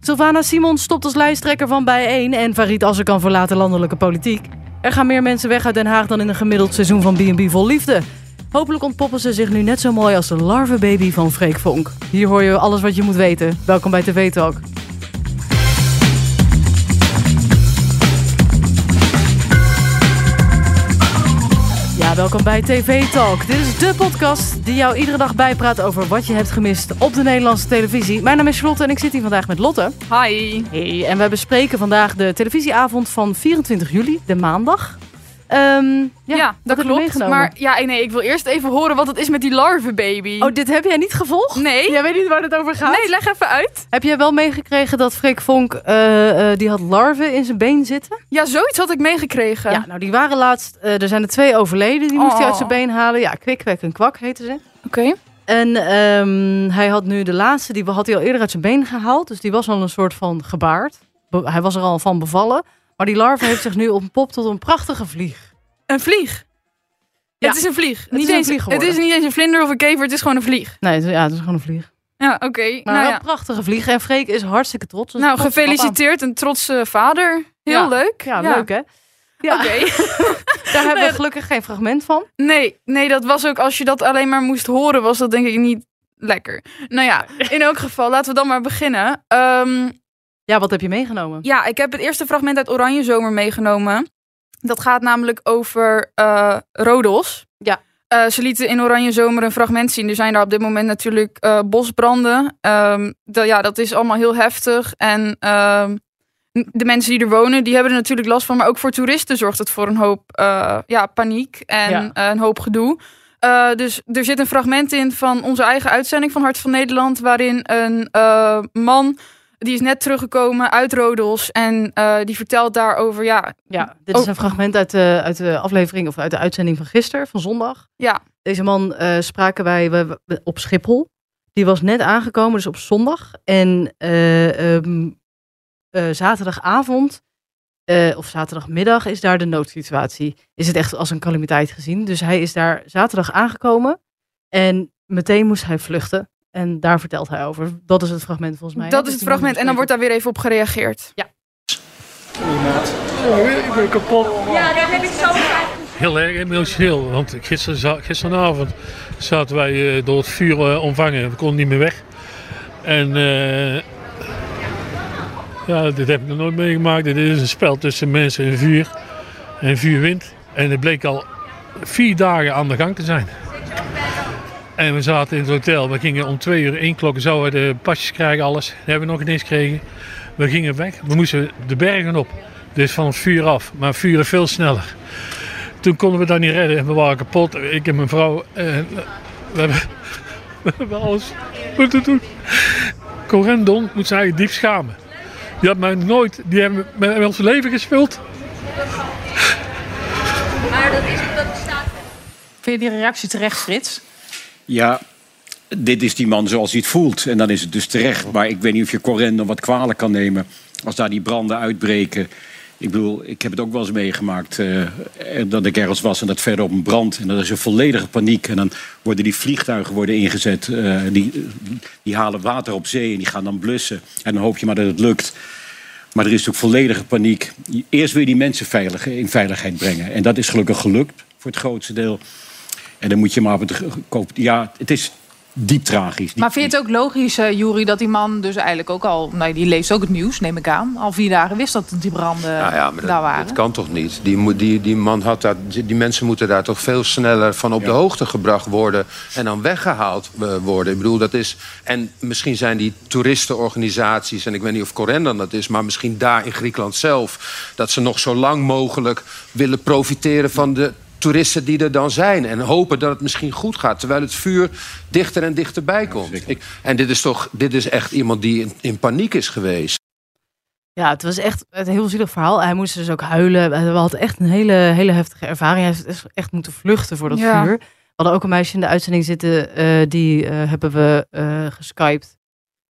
Sylvana Simon stopt als lijsttrekker van Bijeen en Farid Assekan verlaat de landelijke politiek. Er gaan meer mensen weg uit Den Haag dan in een gemiddeld seizoen van B&B vol liefde. Hopelijk ontpoppen ze zich nu net zo mooi als de larvebaby van Freek Vonk. Hier hoor je alles wat je moet weten. Welkom bij TV Talk. Ja, welkom bij TV Talk. Dit is de podcast die jou iedere dag bijpraat over wat je hebt gemist op de Nederlandse televisie. Mijn naam is Charlotte en ik zit hier vandaag met Lotte. Hi. Hey, en wij bespreken vandaag de televisieavond van 24 juli, de maandag. Ehm, ja, Ja, wat heb dat je klopt. meegenomen? Maar ja, nee, ik wil eerst even horen wat het is met die larvenbaby. Oh, dit heb jij niet gevolgd? nee. Jij weet niet waar het over gaat? Nee, leg even uit. Heb jij wel meegekregen dat Freek Vonk, eh, eh, die had larven in zijn been zitten? Ja, zoiets had ik meegekregen. Ja, nou die waren laatst, eh, er zijn er twee overleden, die moest hij Oh. uit zijn been halen. Ja, kwik, kwek en kwak heten ze. Oké. En ehm, hij had nu de laatste, die had hij al eerder uit zijn been gehaald. Dus die was al een soort van gebaard. Be- hij was er al van bevallen. Maar die larve heeft zich nu ontpopt tot een prachtige vlieg. Een vlieg. Ja. Het is een vlieg. is niet een eens, vlieg het geworden. is niet eens een vlinder of een kever, het is gewoon een vlieg. Nee, het- ja, het is gewoon een vlieg. Ja, oké. Maar Nou, wel ja. een prachtige vlieg. En Freek is hartstikke trots. Dus nou, trots, gefeliciteerd. Een trotse vader. Heel Ja. leuk. papa. Ja, leuk hè? Ja, Oké. daar hebben we Nee. gelukkig geen fragment van. Nee, nee, dat was ook als je dat alleen maar moest horen, was dat denk ik niet lekker. Nou ja, in elk geval, laten we dan maar beginnen. Ehm, Ja, wat heb je meegenomen? Ja, ik heb het eerste fragment uit Oranje Zomer meegenomen. Dat gaat namelijk over eh Rodos. Ja. Eh, ze lieten in Oranje Zomer een fragment zien. Er zijn daar op dit moment natuurlijk eh, bosbranden. Ehm, dat- ja, dat is allemaal heel heftig. En ehm, de mensen die er wonen, die hebben er natuurlijk last van. Maar ook voor toeristen zorgt het voor een hoop eh, ja, paniek en Ja. eh, een hoop gedoe. Eh, dus er zit een fragment in van onze eigen uitzending van Hart van Nederland. Waarin een eh, man, die is net teruggekomen uit Rodos. En eh, die vertelt daarover, ja, Ja, dit is Oh. een fragment uit de, uit de aflevering of uit de uitzending van gisteren, van zondag. Ja. Deze man eh, spraken wij we- we- op Schiphol. Die was net aangekomen, dus op zondag. En eh, ehm, eh, zaterdagavond eh, of zaterdagmiddag is daar de noodsituatie. Is het echt als een calamiteit gezien. Dus hij is daar zaterdag aangekomen en meteen moest hij vluchten. En daar vertelt hij over. Dat is het fragment volgens mij. hè? Dus dat is het die man fragment. En dan bespreekt. wordt daar weer even op gereageerd. Ik ben kapot. Ja, daar heb ik zo vaak. Heel erg emotioneel, want gisteren, za- gisteravond zaten wij eh, door het vuur eh, omvangen. We konden niet meer weg. En eh, ja, dit heb ik nog nooit meegemaakt. Dit is een spel tussen mensen en vuur en vuurwind. En het bleek al vier dagen aan de gang te zijn. En we zaten in het hotel. We gingen om twee uur, één klok, zouden we de pasjes krijgen, alles. Dat hebben we nog niet eens gekregen. We gingen weg. We moesten de bergen op. Dus van het vuur af. Maar vuur is veel sneller. Toen konden we dat niet redden. We waren kapot, ik en mijn vrouw. En eh, we hebben, we hebben alles moeten doen. Corendon moet zijn eigen diep schamen. Die had mij nooit, die hebben met ons leven gespeeld. Maar dat is omdat het staat. Vind je die reactie terecht, Frits? Ja, dit is die man zoals hij het voelt. En dan is het dus terecht. Maar ik weet niet of je Corendon wat kwalijk kan nemen. Als daar die branden uitbreken. Ik bedoel, ik heb het ook wel eens meegemaakt. eh, eh, dat ik ergens was en dat verder op een brand. En dat is een volledige paniek. En dan worden die vliegtuigen worden ingezet. eh, die, die halen water op zee en die gaan dan blussen. En dan hoop je maar dat het lukt. Maar er is natuurlijk volledige paniek. Eerst wil je die mensen veilig, in veiligheid brengen. En dat is gelukkig gelukt voor het grootste deel. En dan moet je maar op het ge- koop. Ja, het is diep tragisch. Maar vind je het ook logisch, eh Juri, dat die man dus eigenlijk ook al... Nou, die leest ook het nieuws, neem ik aan. Al vier dagen wist dat die branden Nou ja, maar daar dat, waren. dat kan toch niet? Die, moet- die, die, man had daar, die die mensen moeten daar toch veel sneller van op de hoogte gebracht worden... en dan weggehaald eh, worden. Ik bedoel, dat is... En misschien zijn die toeristenorganisaties... en ik weet niet of Corendon dat is... maar misschien daar in Griekenland zelf... dat ze nog zo lang mogelijk willen profiteren van de toeristen die er dan zijn. En hopen dat het misschien goed gaat. Terwijl het vuur dichter en dichterbij komt. Ik, en dit is toch dit is echt iemand die in, in paniek is geweest. Ja, het was echt een heel zielig verhaal. Hij moest dus ook huilen. We hadden echt een hele, hele heftige ervaring. Hij heeft echt moeten vluchten voor dat Ja. vuur. We hadden ook een meisje in de uitzending zitten. eh, die eh, hebben we eh geskypt.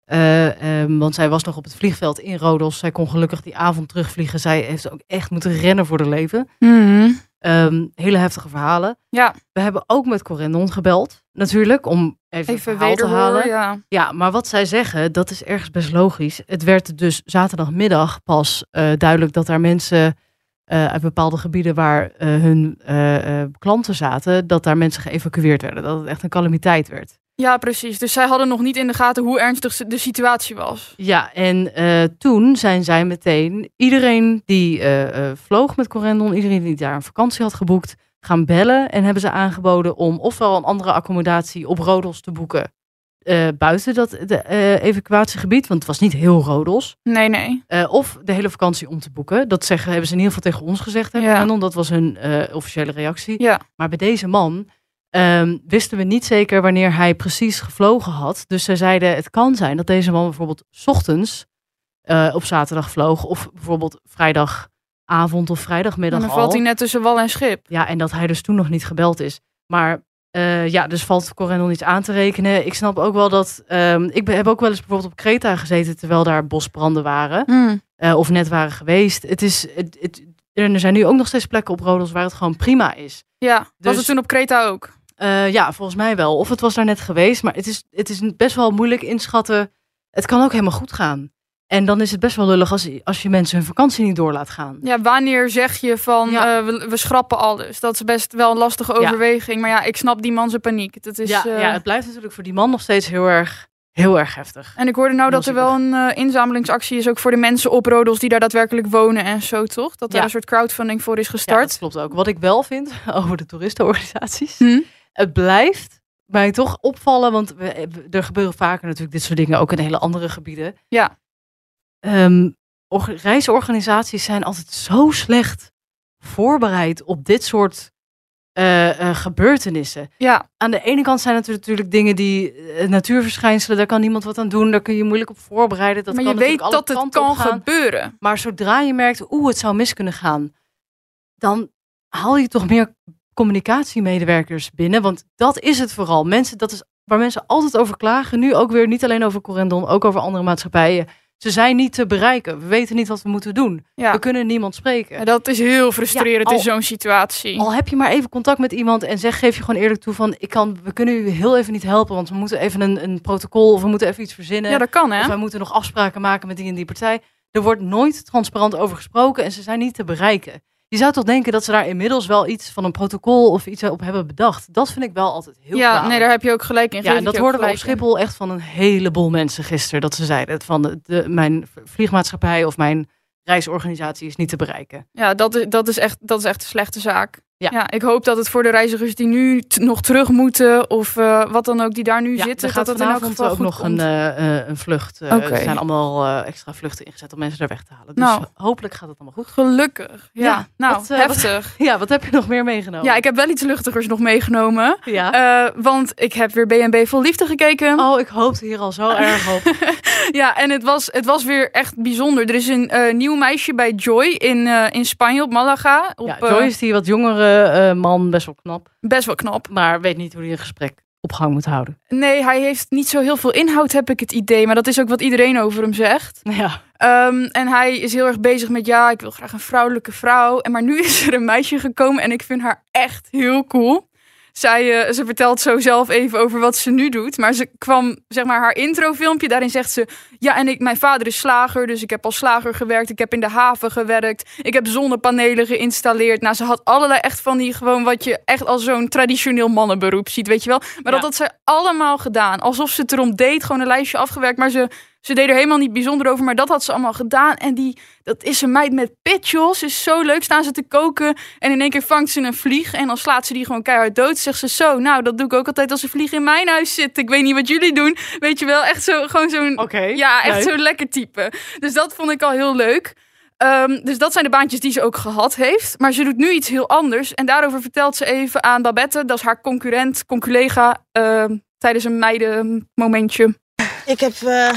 Eh, ehm, want zij was nog op het vliegveld in Rodos. Zij kon gelukkig die avond terugvliegen. Zij heeft ook echt moeten rennen voor haar leven. Eh, ehm, hele heftige verhalen. Ja, We hebben ook met Corendon gebeld, natuurlijk, om even, het even verhaal te wederhoor. halen. Ja. Ja, maar wat zij zeggen, dat is ergens best logisch. Het werd dus zaterdagmiddag pas eh, duidelijk dat daar mensen eh, uit bepaalde gebieden waar eh, hun eh, eh, klanten zaten, dat daar mensen geëvacueerd werden. Dat het echt een calamiteit werd. ja, precies. Dus zij hadden nog niet in de gaten hoe ernstig ze- de situatie was. Ja, en eh, toen zijn zij meteen iedereen die eh, eh, vloog met Corendon, iedereen die daar een vakantie had geboekt, gaan bellen en hebben ze aangeboden om ofwel een andere accommodatie op Rodos te boeken. eh, buiten dat de, eh, evacuatiegebied, want het was niet heel Rodos. Nee, nee. Eh, of de hele vakantie om te boeken. Dat zeggen, hebben ze in ieder geval tegen ons gezegd. Hè, Ja. Canon. Dat was hun eh, officiële reactie. Ja. Maar bij deze man ehm, wisten we niet zeker wanneer hij precies gevlogen had. Dus zij zeiden, het kan zijn dat deze man bijvoorbeeld 's ochtends eh, op zaterdag vloog. Of bijvoorbeeld vrijdagavond of vrijdagmiddag En dan al. valt hij net tussen wal en schip. Ja, en dat hij dus toen nog niet gebeld is. Maar eh, ja, dus valt Corendon iets aan te rekenen. Ik snap ook wel dat... ehm, ik ben, heb ook wel eens bijvoorbeeld op Kreta gezeten terwijl daar bosbranden waren eh, of net waren geweest. Het is, het, het- en er zijn nu ook nog steeds plekken op Rodos waar het gewoon prima is. Ja, was Dus- het toen op Kreta ook? Eh, ja, volgens mij wel. Of het was daar net geweest, maar het is, het is best wel moeilijk inschatten. Het kan ook helemaal goed gaan. En dan is het best wel lullig als, als je mensen hun vakantie niet door laat gaan. Ja, wanneer zeg je van Ja. eh, we, we schrappen alles? Dat is best wel een lastige overweging. Maar ja, ik snap die man zijn paniek. Dat is, ja, eh, ja, het blijft natuurlijk voor die man nog steeds heel erg, heel erg heftig. En ik hoorde nou Heel dat er wel een eh, inzamelingsactie is ook voor de mensen op Rodos die daar daadwerkelijk wonen en zo, toch? Dat daar Ja. een soort crowdfunding voor is Ja, gestart. dat klopt ook. Wat ik wel vind over de toeristenorganisaties. Hm? het blijft mij toch opvallen, want we, we- er gebeuren vaker natuurlijk dit soort dingen ook in hele andere gebieden. Ja. Ehm, orga- reisorganisaties zijn altijd zo slecht voorbereid op dit soort eh, eh, gebeurtenissen. Ja, Aan de ene kant zijn het natuurlijk dingen die eh, natuurverschijnselen, daar kan niemand wat aan doen, daar kun je moeilijk op voorbereiden. Dat maar kan je weet natuurlijk alle dat het kanten kan op gaan. gebeuren. Maar zodra je merkt, oeh, het zou mis kunnen gaan, dan haal je toch meer communicatiemedewerkers binnen. Want dat is het vooral. Mensen, dat is waar mensen altijd over klagen. Nu ook weer niet alleen over Corendon, ook over andere maatschappijen. Ze zijn niet te bereiken. We weten niet wat we moeten doen. We Ja, kunnen niemand Ja, spreken. dat is heel frustrerend Ja, in al- zo'n situatie. Al heb je maar even contact met iemand en zeg, geef je gewoon eerlijk toe van, ik kan, we kunnen u heel even niet helpen, want we moeten even een, een protocol of we moeten even iets verzinnen. ja, dat kan hè? Of wij moeten nog afspraken maken met die en die partij. Er wordt nooit transparant over gesproken en ze zijn niet te bereiken. Je zou toch denken dat ze daar inmiddels wel iets van een protocol of iets op hebben bedacht. Dat vind ik wel altijd heel ja, kwalijk. nee, daar heb je ook gelijk in. ja, en dat hoorden we op Schiphol echt van een heleboel mensen gisteren. Dat ze zeiden het van de, de- mijn vliegmaatschappij of mijn reisorganisatie is niet te bereiken. Ja, dat is, dat is, echt, dat is echt een slechte zaak. Ja. ik hoop dat het voor de reizigers die nu t- nog terug moeten of eh, wat dan ook, die daar nu ja, zitten, er gaat dat het in elk vanavond geval ook goed nog een, komt. eh, eh, een vlucht. eh, Oké. Er zijn allemaal eh, extra vluchten ingezet om mensen daar weg te halen. Dus Nou. hopelijk gaat het allemaal goed. Gelukkig. Ja, Ja, nou, wat, eh, wat- heftig. Ja, wat heb je nog meer meegenomen? Ja, ik heb wel iets luchtigers nog meegenomen. ja. Eh, want ik heb weer BNB Vol Liefde gekeken. Oh, ik hoopte hier al zo erg op. Ja, en het was, het was weer echt bijzonder. Er is een eh, nieuw meisje bij Joy in, eh, in Spanje, op Malaga. Op, ja, eh, Joy is die wat jongere eh, man, best wel knap. best wel knap. Maar weet niet hoe hij een gesprek op gang moet houden. Nee, hij heeft niet zo heel veel inhoud, heb ik het idee. Maar dat is ook wat iedereen over hem zegt. Ja, Ehm, en hij is heel erg bezig met, ja, ik wil graag een vrouwelijke vrouw. En maar nu is er een meisje gekomen en ik vind haar echt heel cool. Zij, eh, ze vertelt zo zelf even over wat ze nu doet. Maar ze kwam, zeg maar, haar introfilmpje. Daarin zegt ze, ja, en ik, mijn vader is slager. Dus ik heb als slager gewerkt. Ik heb in de haven gewerkt. Ik heb zonnepanelen geïnstalleerd. Nou, ze had allerlei echt van die gewoon wat je echt als zo'n traditioneel mannenberoep ziet, weet je wel. Maar dat Ja. had zij allemaal gedaan. Alsof ze het erom deed, gewoon een lijstje afgewerkt. Maar ze ze deed er helemaal niet bijzonder over, maar dat had ze allemaal gedaan. En die, dat is een meid met pitchels. Is zo leuk, staan ze te koken. En in één keer vangt ze een vlieg. En dan slaat ze die gewoon keihard dood. Zegt ze zo, nou, dat doe ik ook altijd als een vlieg in mijn huis zit. Ik weet niet wat jullie doen. Weet je wel, echt zo, gewoon zo'n... oké. Ja, echt leuk. zo'n lekker type. Dus dat vond ik al heel leuk. Ehm, dus dat zijn de baantjes die ze ook gehad heeft. Maar ze doet nu iets heel anders. En daarover vertelt ze even aan Babette. Dat is haar concurrent, conculega. ehm, tijdens een meidenmomentje. Ik heb eh,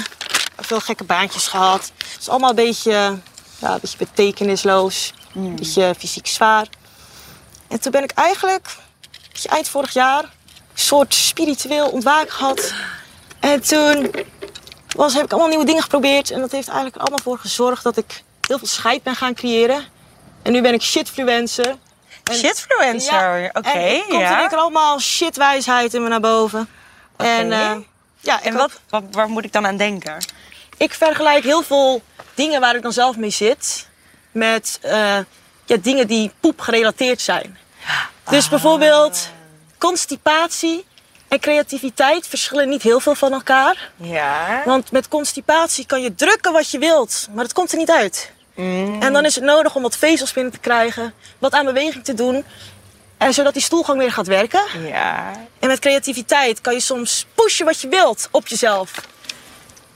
veel gekke baantjes gehad. Het is allemaal een beetje, eh, ja, een beetje betekenisloos. Hmm. Een beetje fysiek zwaar. En toen ben ik eigenlijk, een beetje eind vorig jaar, een soort spiritueel ontwaken gehad. En toen was, heb ik allemaal nieuwe dingen geprobeerd. En dat heeft eigenlijk er allemaal voor gezorgd dat ik heel veel scheid ben gaan creëren. En nu ben ik shitfluencer. Shitfluencer, oké. en er komt ja. er allemaal shitwijsheid in me naar boven. Oké. En, eh, ja, ik En hoop- wat, wat, waar moet ik dan aan denken? ik vergelijk heel veel dingen waar ik dan zelf mee zit met eh, ja, dingen die poep gerelateerd zijn. Dus Ah. bijvoorbeeld constipatie en creativiteit verschillen niet heel veel van elkaar. Ja. Want met constipatie kan je drukken wat je wilt, maar het komt er niet uit. Mm. En dan is het nodig om wat vezels binnen te krijgen, wat aan beweging te doen. En zodat die stoelgang weer gaat werken. Ja. En met creativiteit kan je soms pushen wat je wilt op jezelf.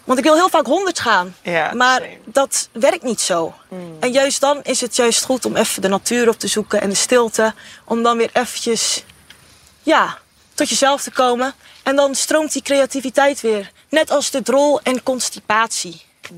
Want ik wil heel vaak 100 gaan. Ja, maar same. Hmm. dat werkt niet zo. En juist dan is het juist goed om even de natuur op te zoeken en de stilte. Om dan weer eventjes ja, tot jezelf te komen. En dan stroomt die creativiteit weer. Net als de drol en constipatie.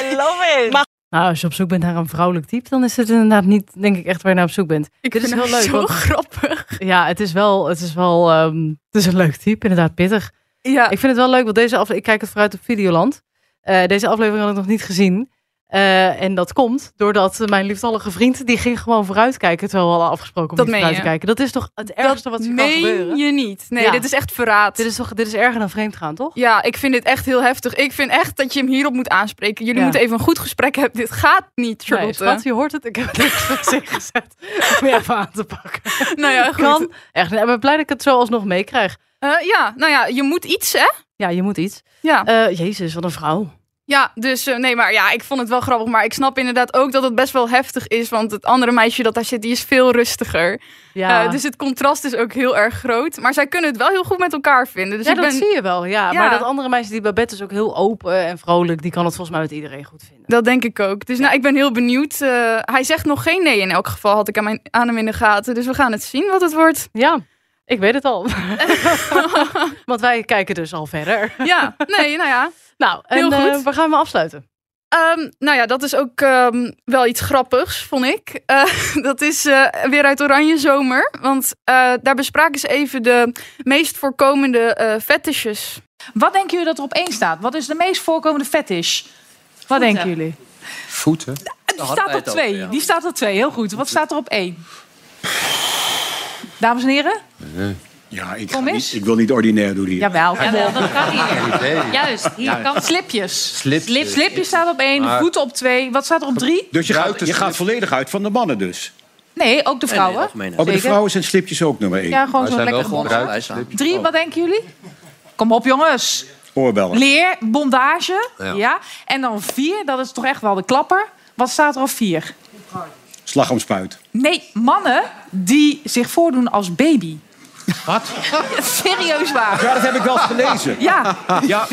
I love it. Maar- Nou, als je op zoek bent naar een vrouwelijk type, dan is het inderdaad niet, denk ik, echt waar je naar op zoek bent. Ik Dit is vind heel haar leuk. zo want- grappig. Ja, het is wel, het is wel, ehm, het is een leuk type, inderdaad pittig. Ja, Ik vind het wel leuk, want deze aflevering, ik kijk het vooruit op Videoland. Eh, deze aflevering had ik nog niet gezien. Eh, en dat komt doordat mijn liefdallige vriend, die ging gewoon vooruit kijken, terwijl we hadden afgesproken om Dat niet meen vooruit te je? kijken. Dat is toch het ergste wat er kan meen gebeuren? je niet. Nee, Ja. dit is echt verraad. Dit is toch, dit is erger dan vreemd gaan, toch? Ja, ik vind dit echt heel heftig. Ik vind echt dat je hem hierop moet aanspreken. Jullie Ja. moeten even een goed gesprek hebben. Dit gaat niet, nee, Charlotte. schat, je hoort het. Ik heb het niks op zich gezet om je even aan te pakken. nou ja, goed. Kan. Echt, ik ben blij dat ik het zo alsnog meekrijg. Eh, ja, nou ja, je moet iets, hè? Ja, je moet iets. Ja, Eh, Jezus, wat een vrouw. ja dus eh, nee, maar ja, ik vond het wel grappig. Maar ik snap inderdaad ook dat het best wel heftig is. Want het andere meisje dat daar zit, die is veel rustiger. Ja, Eh, dus het contrast is ook heel erg groot. Maar zij kunnen het wel heel goed met elkaar vinden. Dus ja ik dat ben... zie je wel. Ja. Ja. Maar dat andere meisje, die Babette is ook heel open en vrolijk. Die kan het volgens mij met iedereen goed vinden. Dat denk ik ook. Dus nou, ik ben heel benieuwd. Eh, hij zegt nog geen nee in elk geval, had ik aan, mijn, aan hem in de gaten. Dus we gaan het zien wat het wordt. Ja, ik weet het al. Want wij kijken dus al verder. Ja, nee, nou ja. Nou, en Heel goed. eh, waar gaan we afsluiten? Ehm, nou ja, dat is ook ehm, wel iets grappigs, vond ik. Eh, dat is eh, weer uit Oranje Zomer. Want eh, daar bespraken ze even de meest voorkomende eh fetishes. Wat denken jullie dat er op één staat? Wat is de meest voorkomende fetish? Wat denken jullie? Voeten. Het hadden staat wij op het twee. over, ja. Die staat op twee. Heel goed. Wat staat er op één? Dames en heren? Ja, ik, Kom ga eens. niet, ik wil niet ordinair doen hier. Jawel. Jawel, dat gaat hier. Geen idee. Juist, hier kan Slipjes. Slipjes. Slip- Slipjes staat op één. Maar- Voeten op twee. Wat staat er op drie? Dus je gaat, je Ruitenslip. gaat volledig uit van de mannen dus. Nee, ook de Nee, nee, vrouwen. algemeen. Ook bij de Zeker. vrouwen zijn slipjes ook nummer één. Ja, gewoon Maar zo'n zijn wel lekker gewoon gewoon bonzen. erbij staan. Drie, wat denken jullie? Kom op, jongens. Oorbellen. Leer, bondage. Ja. Ja. En dan vier, dat is toch echt wel de klapper. Wat staat er op vier? Slag om spuit. Nee, mannen die zich voordoen als baby. Wat? Serieus waar. Ja, dat heb ik wel gelezen. Ja, Ja.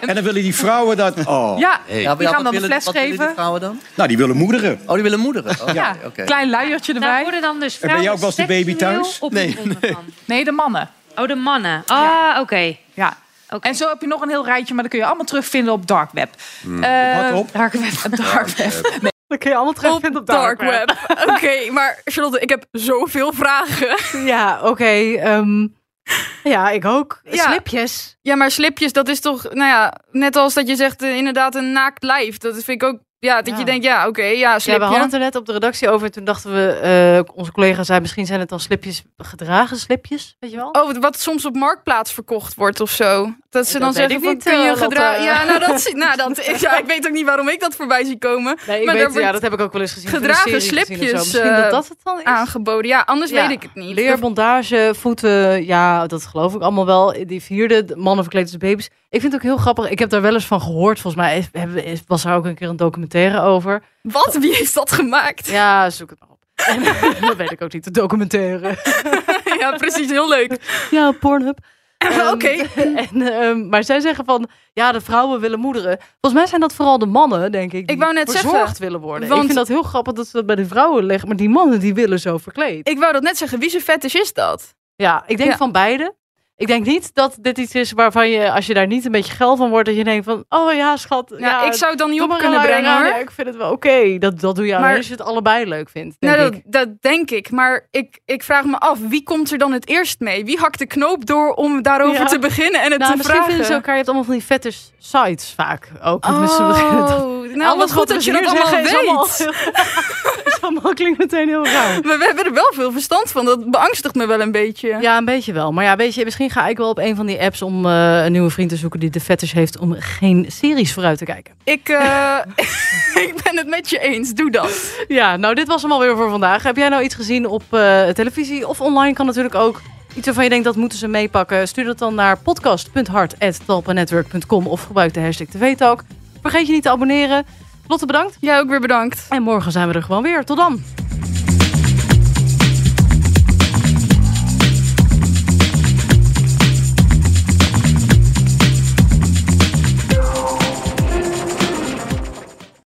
En dan willen die vrouwen dat... Oh. ja. Ja, die maar gaan wat dan de willen- fles wat willen die geven. vrouwen dan? Nou, die willen moederen. Oh, die willen moederen. Oh, Ja, oké, oké. klein luiertje Daar erbij. worden dan dus En ben vrouwen jij ook wel eens de baby seksueel thuis? opgewonden van. Nee, de mannen. Oh, de mannen. Ah, oké. Ja. Oké. En zo heb je nog een heel rijtje, maar dat kun je allemaal terugvinden op dark web. Eh, Wat op? Dark web. Dark web. Dat kun je allemaal terugvinden op, dark web. Oké, maar Charlotte, ik heb zoveel vragen. Ja, oké. ehm, ja, ik ook. Ja. Slipjes. Ja, maar slipjes, dat is toch, nou ja, net als dat je zegt eh, inderdaad een naakt lijf. Dat vind ik ook, ja, dat Ja. je denkt, ja, oké, ja, Ja, we slipje. hadden het er net op de redactie over. Toen dachten we, eh, onze collega zei, misschien zijn het dan slipjes gedragen, slipjes, weet je wel? Oh, wat- wat soms op marktplaats verkocht wordt of zo. Dat ze Dat dan weet zeggen ik van, niet, kun eh, je Lotte. gedragen? Ja, nou, dat, zie- nou dat, ik, ja, ik weet ook niet waarom ik dat voorbij zie komen. nee, ik maar weet, daar ja, wordt dat heb ik ook wel eens gezien. in de gedragen serie gezien of zo. slipjes, Misschien eh, dat dat het dan is. Aangeboden. Ja, anders Ja. weet ik het niet. Leer, bondage, voeten, ja, dat geloof ik allemaal wel. Die vierde, de mannen verkleed als baby's. Ik vind het ook heel grappig. Ik heb daar wel eens van gehoord. Volgens mij is- hebben- is- was daar ook een keer een documentaire over. Wat? Wie heeft dat gemaakt? Ja, Ja, zoek het maar op. En, dat weet ik ook niet, de documentaire. precies. Heel leuk. Ja, Pornhub. Oké. En, ehm, maar zij zeggen van, ja, de vrouwen willen moederen. Volgens mij zijn dat vooral de mannen, denk ik, die wou net verzorgd zeggen, willen worden. want- Ik vind dat heel grappig dat ze dat bij de vrouwen leggen. Maar die mannen, die willen zo verkleed. Ik wou dat net zeggen. Wie zijn fetish is dat? Ja, ik denk Ja. van beide. Ik denk niet dat dit iets is waarvan je, als je daar niet een beetje geil van wordt, dat je denkt van, oh ja, schat. Ja, Nou, ik zou het dan niet doe op maar een kunnen luier brengen, aan. hoor. Ja, ik vind het wel oké. Dat, dat doe je alleen Maar- als je het allebei leuk vindt, denk Nou, dat, ik. dat denk ik. Maar ik, ik vraag me af, wie komt er dan het eerst mee? Wie hakt de knoop door om daarover Ja. te beginnen en het Nou, te misschien vragen? vinden ze elkaar, je hebt allemaal van die fetish sites vaak ook. Oh, Tenminste, we beginnen het- nou, wat Alles goed we dat je hier dat allemaal zeggen weet. is allemaal- is allemaal, allemaal klinkt meteen heel raar. Maar we hebben er wel veel verstand van. Dat beangstigt me wel een beetje. Ja, een beetje wel. Maar ja, weet je, misschien ga ik wel op een van die apps om eh, een nieuwe vriend te zoeken die de fetish heeft om geen series vooruit te kijken. Ik, eh, ik ben het met je eens. Doe dat. Ja, nou, dit was hem alweer voor vandaag. Heb jij nou iets gezien op eh, televisie of online? Kan natuurlijk ook. Iets waarvan je denkt dat moeten ze meepakken. Stuur dat dan naar podcast.hart.talpanetwerk.com of gebruik de hashtag TVTalk. Vergeet je niet te abonneren. Lotte bedankt. Jij ook weer bedankt. En morgen zijn we er gewoon weer. Tot dan.